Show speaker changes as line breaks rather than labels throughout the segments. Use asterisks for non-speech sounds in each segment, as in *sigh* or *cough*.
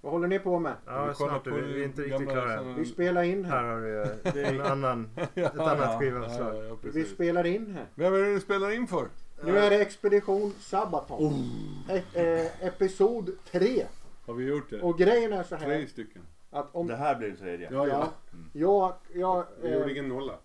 Vad håller ni på med?
Ja,
Vi kollar
snart.
på
Vi vi är inte riktigt
gamla
klara.
sådana-
Vi spelar in
Här
här.
har du eh, det är en annan.
*laughs*
Ett annat skivomslag.
Ja, ja, ja,
Vi
precis.
spelar in här.
Vem är det du spelar in för?
Nu är det Expedition Sabaton. E- eh, episod 3.
Har vi gjort det?
Och grejen är så
Tre
här
stycken.
att om...
Det här blir den tredje.
Ja,
Ja,
ja.
jag, jag,
Vi gjorde
eh,
ingen nolla.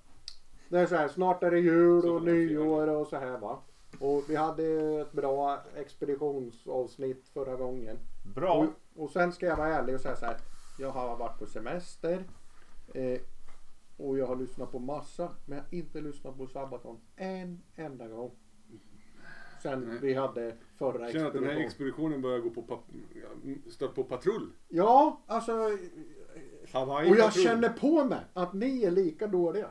det är så här, snart är det jul
Så
och
får man fira.
nyår och så här va. Och vi hade ett bra expeditionsavsnitt förra gången.
Bra.
Och, och sen ska jag vara ärlig och säga så här. Jag har varit på semester. Eh, och jag har lyssnat på massa. Men jag har inte lyssnat på Sabaton en enda gång. Sen
Nej.
vi hade förra
Känner att den här
expeditionen.
expeditionen börjar gå på pat- ja, stött på patrull.
ja, alltså.
Hawaii
Och jag
patrull.
känner på mig att ni är lika
*laughs*
dåliga.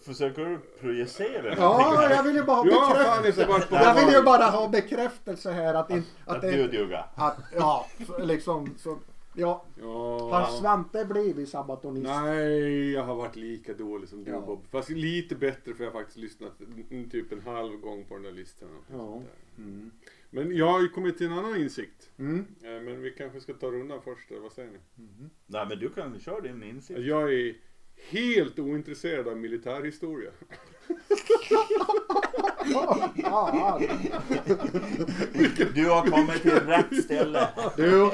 Försöker du projicera
Ja, jag vill ju bara ha
Jag har fan
bekräftelse.
inte varit
*laughs*
på
Jag vill ju
Hawaii.
bara ha bekräftelse här att, in, att,
Att du
det,
duga.
att ja, så liksom så, ja, har
Ja.
Svante blivit sabatonist?
Nej, jag har varit lika dålig som du
Ja.
Bob. Fast lite bättre för jag har faktiskt lyssnat mm, typ en halv gång på den där listan. och
Ja.
sånt där. Men jag har ju kommit till en annan insikt.
Mm.
Eh, Men vi kanske ska ta rundan först, eller vad säger ni?
Nej men du kan köra din insikt.
Jag är helt ointresserad av militärhistoria.
Ja,
Du har kommit till rätt
*laughs*
ställe.
Du,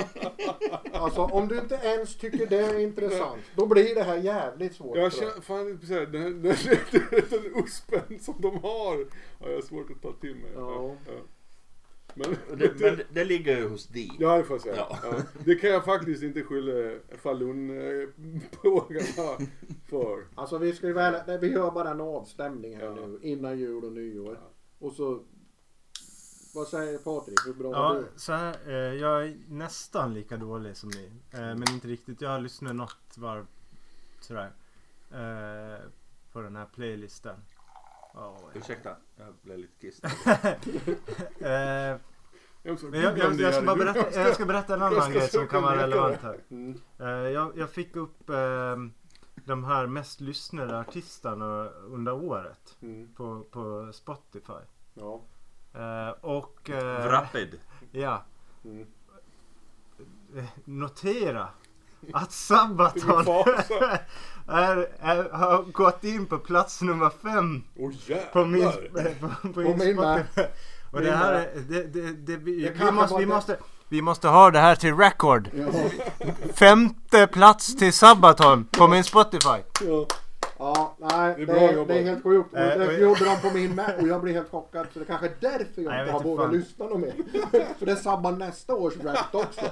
alltså om du inte ens tycker det är intressant, då blir det här jävligt svårt.
Jag
tror
känner, fan, inte så här, *laughs* den, den, den, den uspen som de har har jag svårt att ta till mig.
Ja.
Men,
Det, men det- det ligger ju hos dig.
*laughs* Ja, det får jag säga. Ja.
Ja.
Det kan jag faktiskt inte skylla Falun-plågarna för.
Alltså vi ska ju väl, nej, vi gör bara en avstämning här
Ja.
nu innan jul och nyår. Och så, vad säger Patrik? Hur bra var
Ja,
du?
så här, eh, jag är nästan lika dålig som ni. Eh, men inte riktigt. Jag har lyssnat något varv sådär. Eh, på den här playlisten. Ja, ja.
Ursäkta, jag blev lite kissnödig.
*laughs* Eh,
Jag, så,
men jag, jag, jag, ska bara berätta, jag ska berätta en
Jag ska
annan grej som
söka
kan vara
ner det.
relevant här.
Mm.
Eh, jag, jag fick upp eh, de här mest lyssnade artisterna under året
Mm.
på, på Spotify.
Ja.
Eh, och... eh,
Rapid.
Ja.
Mm.
Eh, Notera
Det blir
att Sabaton
fasa.
*laughs* är, är, har gått in på plats nummer fem
Åh
på min,
jävlar!
på, på
min
min
med.
Spotify. Och det här är, det, det, det,
Det
vi, vi,
kanske
måste,
var
vi,
det.
måste, vi måste ha det här till record.
Ja,
Femte plats till Sabaton på min Spotify.
Ja.
ja nej,
Det
det
är
är, det är,
bra jobbat.
helt sjukt. Och
Eh,
det
och-
gjorde de på min med och jag blev helt chockad. Så det kanske är därför jag
Nej,
inte
jag vet
har
inte
vågat
fan.
lyssna något mer. *laughs* För det sabbar nästa års rap också.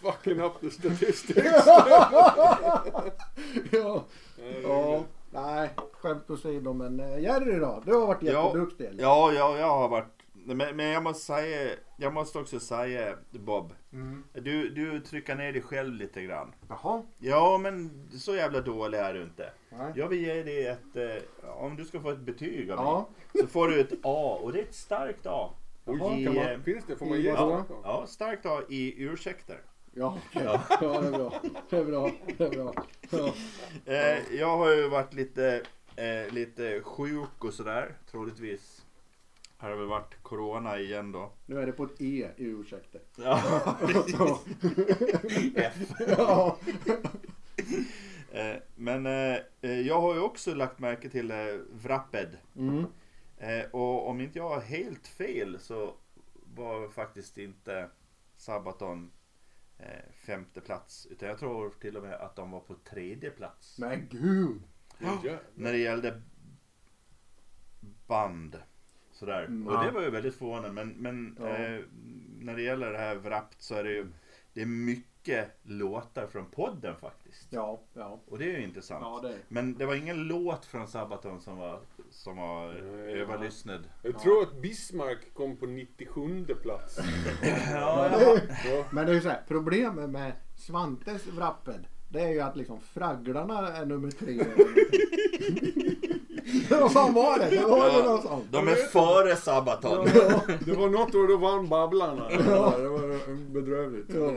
Fucking up the statistics!
Ja.
Nej, det är
Ja,
väl-
nej, skämt åsido men eh, Jerry då? Du har varit
Ja.
jätteduktig eller?
Ja, ja, jag har varit... Men, men jag måste säga, jag måste också säga Bob.
Mm.
Du, du trycker ner dig själv lite grann.
Jaha.
Ja, men så jävla dålig är du inte.
Nej.
Jag vill ge dig ett... Eh, om du ska få ett betyg av
Ja.
mig så får du ett A och det är ett starkt A.
Oj,
I,
kan
eh,
man, finns det? Får man
i-
ge
ja.
ja.
ja, starkt A i ursäkter.
Ja, okej. ja, det är bra. Det är bra. Det är bra. Ja.
Eh, jag har ju varit lite, eh, lite sjuk och sådär, troligtvis. Har det väl varit corona igen då.
Nu är det på ett E i ursäkter.
Ja, *laughs*
Ja.
F.
*laughs* Ja.
Eh, men eh, eh, jag har ju också lagt märke till eh, Wrapped.
Mm.
Eh, och om inte jag har helt fel så var faktiskt inte Sabaton eh, femte plats. Utan jag tror till och med att de var på tredje plats.
Men gud.
Ja.
När det gällde band. Sådär.
Ja.
Och det var ju väldigt förvånande. Men, men
Mm, Ja.
eh, när det gäller det här Wrapped så är det ju det är mycket låtar från podden faktiskt.
Ja, ja.
Och det är ju intressant.
Ja, det är det.
Men det var ingen låt från Sabaton som var, som var
Nej,
överlyssnad.
Jag tror att Bismarck kom på 97
*laughs*
plats.
Ja,
Ja.
Men det är ju så här, problemet med Svantes wrapped det är ju att liksom fragglarna är nummer *laughs* tre. *laughs* Vad fan var det? Det var ju någon sån.
*clears throat* De är före Sabaton.
Det var något år då vann Babblarna. Ja, det var bedrövligt.
Ja.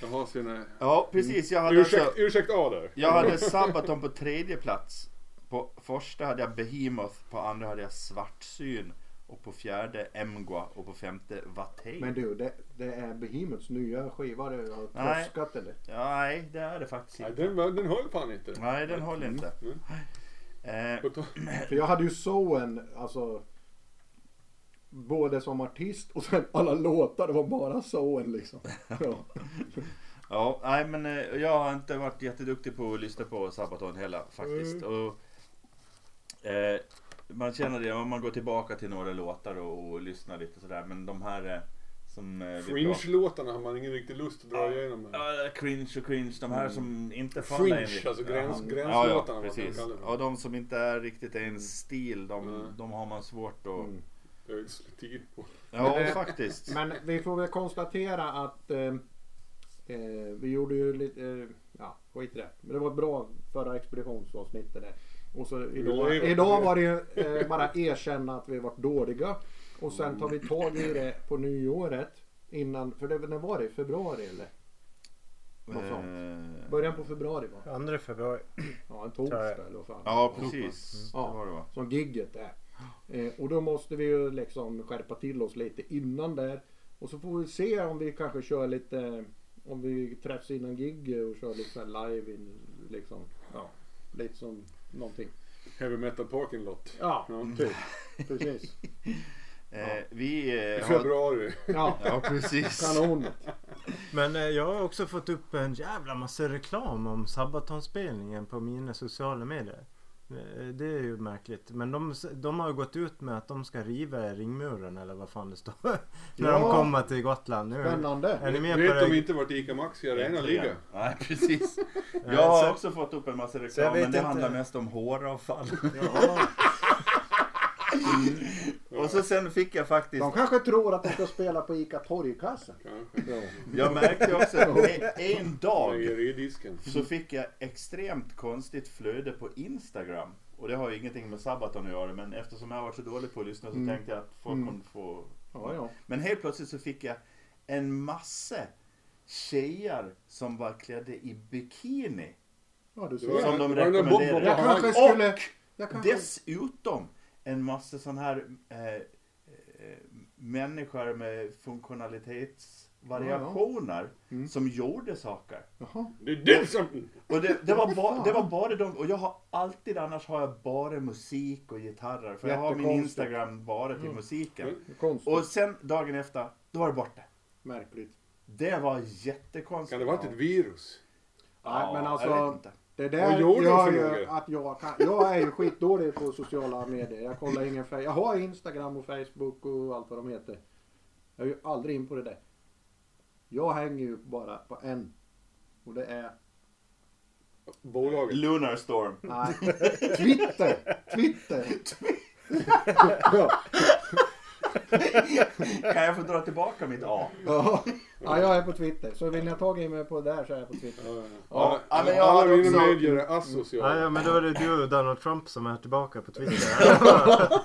Jag har sina...
Ja, precis. Jag hade,
Ursäkt,
alltså,
ursäkt A där.
jag hade Sabaton på tredje plats. På första hade jag Behemoth, på andra hade jag Svartsyn Och på fjärde Emgwa och på femte Vatey.
Men du, det, det är Behemoths nya skiva du har
Nej.
tröskat eller?
Ja, nej, det är det faktiskt
Nej,
inte.
den, var- den höll fan inte.
Nej, den håller inte.
Mm.
Mm.
Eh,
På tal-
För jag hade ju Soen, alltså. Både som artist och sen alla låtar, det var bara Soen liksom. Ja.
Ja, nej men eh, jag har inte varit jätteduktig på att lyssna på Sabaton heller faktiskt.
Mm.
Och, eh, man känner det om man går tillbaka till några låtar och, och lyssnar lite sådär. Men de här eh, som eh, vi pratar-
Fringe-låtarna har man ingen riktig lust att dra igenom. här.
Ja, eh, cringe och cringe. De här som inte faller
Mm. Fringe,
enligt-
alltså gräns,
Ja,
gränslåtarna.
ja,
vad
ja,
man
precis.
kallar dem.
Och de som inte är riktigt ens stil, de,
Mm.
de har man svårt att...
Mm.
Det är ju så tid på.
Ja,
Men det- *laughs*
faktiskt.
Men vi får väl konstatera att eh, eh, vi gjorde ju lite, eh, ja skit i det. Men det var ett bra förra expeditionsavsnittet där. Och så idag,
lever på
idag
det.
var det ju eh, bara erkänna att vi varit dåliga. Och sen tar vi tag i det på nyåret. Innan, för det, när var det? I Februari eller? något sånt.
Eh,
Början på februari va?
2 februari.
Ja, en torsdag eller vad fan.
Ja,
Mm.
precis.
Ja.
Det var det va?
Som gigget är. Eh, och då måste vi ju liksom skärpa till oss lite innan där. Och så får vi se om vi kanske kör lite, om vi träffs innan gig och kör lite så här live in, liksom. Ja, lite som någonting.
Heavy metal parking lot.
Ja,
Ja.
typ. Precis.
Eh, vi
I
eh, har...
februari.
*laughs* Ja,
Ja, precis.
kanon.
Men eh, jag har också fått upp en jävla massa reklam om Sabaton-spelningen på mina sociala medier. Eh, Det är ju märkligt. Men de, de har ju gått ut med att de ska riva ringmuren eller vad fan det står. *laughs* När de
Ja.
kommer till Gotland. Nu. Är
Spännande.
ni med på
Vet de
det?
inte vart Ica Maxi Arena *laughs* ligger?
Nej, precis.
Eh,
Jag har
så-
också fått upp en massa
Så jag
reklam,
vet
men det
inte.
handlar mest om håravfall.
Ja.
Och så sen fick jag faktiskt,
De kanske tror att de ska spela på ICA Torgkassa.
Kanske.
Ja.
jag märkte ju också att en, en dag
Mejeridisken.
så fick jag extremt konstigt flöde på Instagram. Och det har ju ingenting med Sabaton att göra, men eftersom jag har varit så dålig på att lyssna så
Mm.
tänkte jag att folk
Mm.
kommer få...
Ja, ja.
Men helt plötsligt så fick jag en massa tjejer som var klädda i bikini.
ja du
Det var-
ser.
Som de
var det någon
rekommenderar.
Bob- Bob-
Jag kanske
Och-
skulle... Jag kanske...
Dessutom en massa sån här eh, eh, människor med funktionalitetsvariationer
Mm.
som gjorde saker.
Jaha.
Det är du som...
Och det, det, var ba,
Fan.
det var bara de, och jag har alltid annars har jag bara musik och gitarrer. För jag har min
Jättekonstigt.
Instagram bara till musiken.
Mm.
Det är Konstigt.
Och sen dagen efter, då var det borta.
Märkligt.
Det var jättekonstigt.
Kan det varit ett virus?
Ja,
Nej, men alltså-
jag vet inte.
Det där
Vad gjorde du
gör
för
ju
något?
att jag kan, Jag är ju skitdålig på sociala medier. Jag kollar ingen fe- Jag har Instagram och Facebook och allt vad de heter. Jag är ju aldrig in på det där. Jag hänger ju bara på en. Och det är...
Bolaget?
Lunar Storm.
Nej. Twitter!
*laughs*
Twitter! ja,
Kan jag få dra tillbaka mitt A?
ja. ja, jag är på Twitter. Så vill ni ha tag i mig på där så är jag på Twitter.
Ja, ja.
Ja,
Alla-
men jag har
Alla mina
också-
medier är
*laughs* Ja, ja,
asociala.
men då är det du och Donald Trump som är tillbaka på Twitter.
Ja.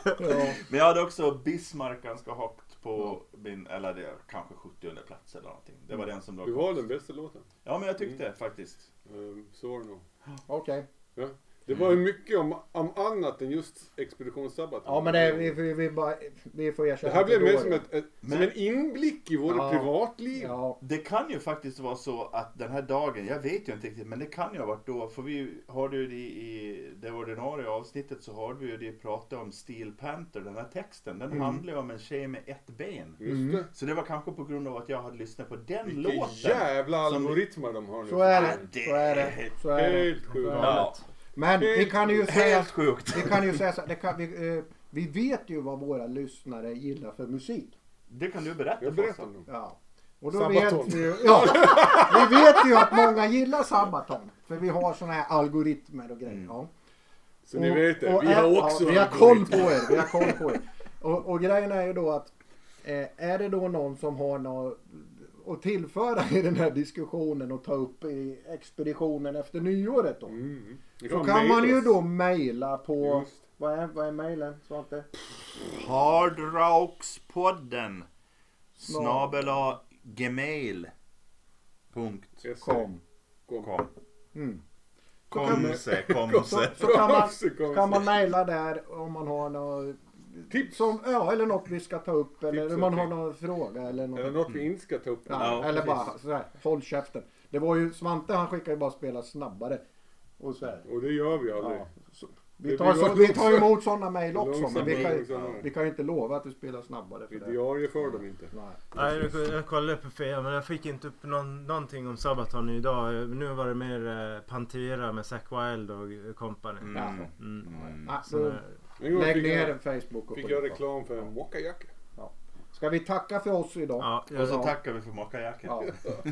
Men jag hade också Bismarck ganska högt på min, eller det kanske 70 plats eller någonting. Det var den som
Du
låg.
har den bästa låten.
Ja men jag tyckte
Mm.
faktiskt.
Um, så var det nog.
Okej.
Ja. Det var ju mycket om, om annat än just Expedition Sabbath.
Ja, men det, är- vi, vi, vi, bara, vi får
Det
erkänna
här
att vi är
blev mer som,
dåliga.
ett, ett, som
Men-
en inblick i våra
Ja.
privatliv.
Ja.
Det kan ju faktiskt vara så att den här dagen, jag vet ju inte riktigt, men det kan ju ha varit då, för vi hörde ju det i det ordinarie avsnittet så hörde vi ju det prata om Steel Panther, den här texten, den
Mm.
handlar ju om en tjej med ett ben.
Mm.
Just det.
Så det var kanske på grund av att jag hade lyssnat på den
Vilka
låten.
jävla
som-
algoritmer de har nu.
Så är
Ja,
det.
det
Så är det.
är
Så är det.
Helt
Så
sjukt.
är det.
Ja,
Men vi kan ju säga...
helt sjukt.
Vi kan ju säga så här, det kan, vi, eh, vi vet ju vad våra lyssnare gillar för musik.
Det kan du berätta
Jag
för oss
berättar om dem.
Ja. Och då
Sabaton.
vet vi ju... Ja, vi vet ju att många gillar Sabaton. För vi har såna här algoritmer och grejer. Ja.
Mm. Så ni
Och-
vet det.
och
Vi har
ä-
också
ja, Vi har koll på er. Vi har koll på er. Och, och grejen är ju då att eh, är det då någon som har något att tillföra i den här diskussionen och ta upp i expeditionen efter nyåret då.
Mm. Ni
Då
mejla
kan man ju
oss.
då mejla på...
Just.
Vad är, vad är mejlen Svante?
Hardrockspodden snabel a gmail. Punkt.
Yes.
Kom.
Kom.
Mm.
Komse,
Så,
komse.
*laughs* så kan man,
Kom, *laughs* så kom,
kan man
så.
mejla där om man har något
Tips!
Som, ja, eller något vi ska ta upp eller
Tips
om man
och
har
tips.
någon fråga eller något.
Eller något vi inte ska ta upp.
Ja,
Ja,
eller
precis.
bara sådär, håll käften. Det var ju Svante han skickade ju bara spela snabbare. Och så här.
Och det gör vi aldrig.
Ja, så,
Det
vi, tar,
blir
så, vi tar
långsamt.
emot sådana mejl också men
Långsamt,
vi kan, ju-
långsamt.
vi kan ju inte lova att du spelar snabbare för
Vi
det.
diarieför dem inte.
Nej.
Nej, jag- jag kollade på Fea men jag fick inte upp någon, någonting om Sabaton idag. Nu var det mer eh, Pantera med Zack Wilde och eh, company.
Mm.
Ja.
Mm.
Mm.
Ah,
Sån
så,
här-
En gång
lägg
fick
ner
jag,
en Facebook och
fick
skit
jag
då.
reklam för en Wakayaka.
Ska vi tacka för oss idag?
Ja,
Och
jag,
så tackar vi för makajacken.
*laughs*
Ja.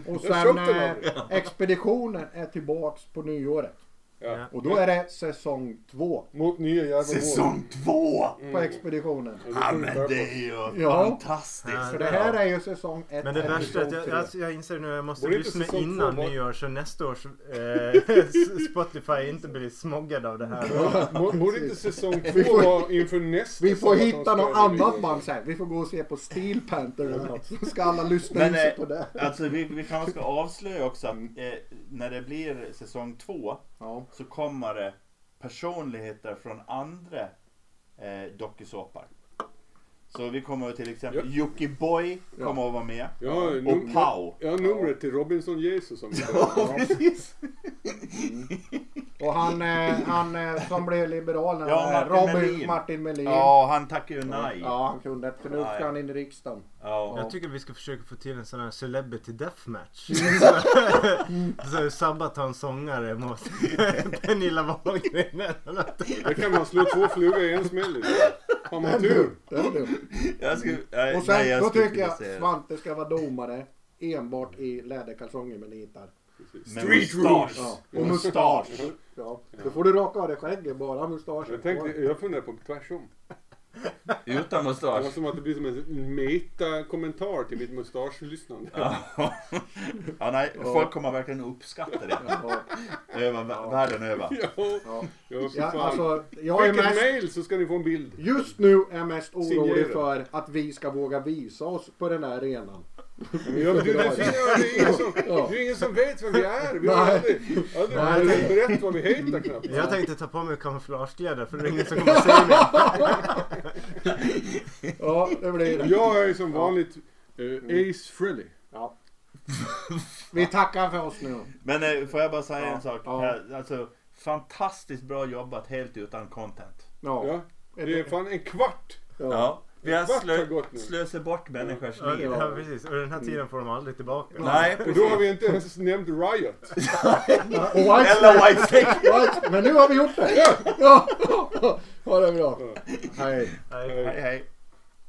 Och
Jag
sen
köpte
eh,
den
expeditionen är tillbaks på nyåret.
Ja.
Och då är det säsong två
Mot nya jävla mål.
Säsong två!
på expeditionen.
Och
Ja men
funkar
det är ju
Ja.
fantastiskt.
Så det här är ju säsong ett.
men det
eller
värsta är att
säsong
jag,
tre.
jag, jag inser nu att jag måste
Borde inte
lyssna
säsong två
innan
vara-
nyår så nästa års eh, Spotify inte blir smoggad av det här.
Ja, må- Borde inte säsong
Vi
två
får-
vara inför nästa
Vi får
Sabaton
hitta något
spelning?
annat band sen. Vi får gå och se på Steel Panther eller något. Så ska alla lyssna
Men,
in sig
eh,
på det.
Alltså vi, vi kanske ska avslöja också att eh, när det blir säsong två
Ja.
så kommer det personligheter från andra eh, dokusåpor. Så vi kommer till exempel,
Ja. Mm.
Jocke Boy kommer att vara med.
Ja, num-
Och Pau.
Ja, numret till Robinson Jesus som vi
Ja, precis.
Och han, eh, han eh, som blev liberal när
Ja,
han, eh,
Martin
Robin
Melin.
Martin Melin.
Ja, han tackar ju nej.
Ja, han kunde inte. För nu
Nej.
ska han in i riksdagen.
Ja.
Jag tycker vi ska försöka få till en sån här Celebrity Deathmatch. Så- så Sabaton sångare mot *laughs* Pernilla Wahlgren eller något.
Där kan man slå två flugor i en smäll. i det. Har man tur.
Det är dumt.
Jag skulle, nej,
Och sen
nej, jag
då
skulle
tycker jag
inte säga det.
Svante ska vara domare. Enbart i läderkalsonger med nitar.
Men
Street
mustasch.
Rules.
Ja. Och mustasch. Ja. Då får du raka av dig skägget bara mustaschen.
Jag, tänkte, jag funderar på tvärsom.
Utan
Det
mustasch.
var som att det blir som en meta-kommentar till mitt mustaschlyssnande.
Ja. ja, nej, folk kommer verkligen uppskatta det.
Ja.
Över, Världen över.
Ja,
Ja.
ja för
Ja,
fan.
alltså, jag är
Skicka ett
mest
mail så ska ni få en bild.
Just nu är jag mest orolig
Signera.
för att vi ska våga visa oss på den här arenan.
Ja, men du, det, finns, det, är ingen som, det är ingen som vet vem vi är. Vi har
Nej.
aldrig, aldrig
Nej.
berättat vad vi heter knappt.
Jag tänkte ta på mig kamouflagekläder för det är ingen som kommer se mig.
Ja, det blir det.
Jag är ju som vanligt eh, Ace Frehley.
Ja. Vi tackar för oss nu.
Men eh, får jag bara säga
Ja,
en sak?
ja.
Här, Alltså, fantastiskt bra jobbat helt utan content.
Ja.
Ja, det är fan en kvart.
Ja.
Vi har
Vart har
slö,
gått nu?
slösat bort människors
Ja,
liv.
ja, precis. Och den här tiden får de aldrig tillbaka.
Nej,
Och då har
precis.
vi inte ens nämnt Riot.
Och White
Eller
Snake.
White
*laughs*
*laughs*
Snake.
White- Men nu har vi gjort det. Ja. Ja. Ha det bra. Hej.
Nej.
Hej, hej.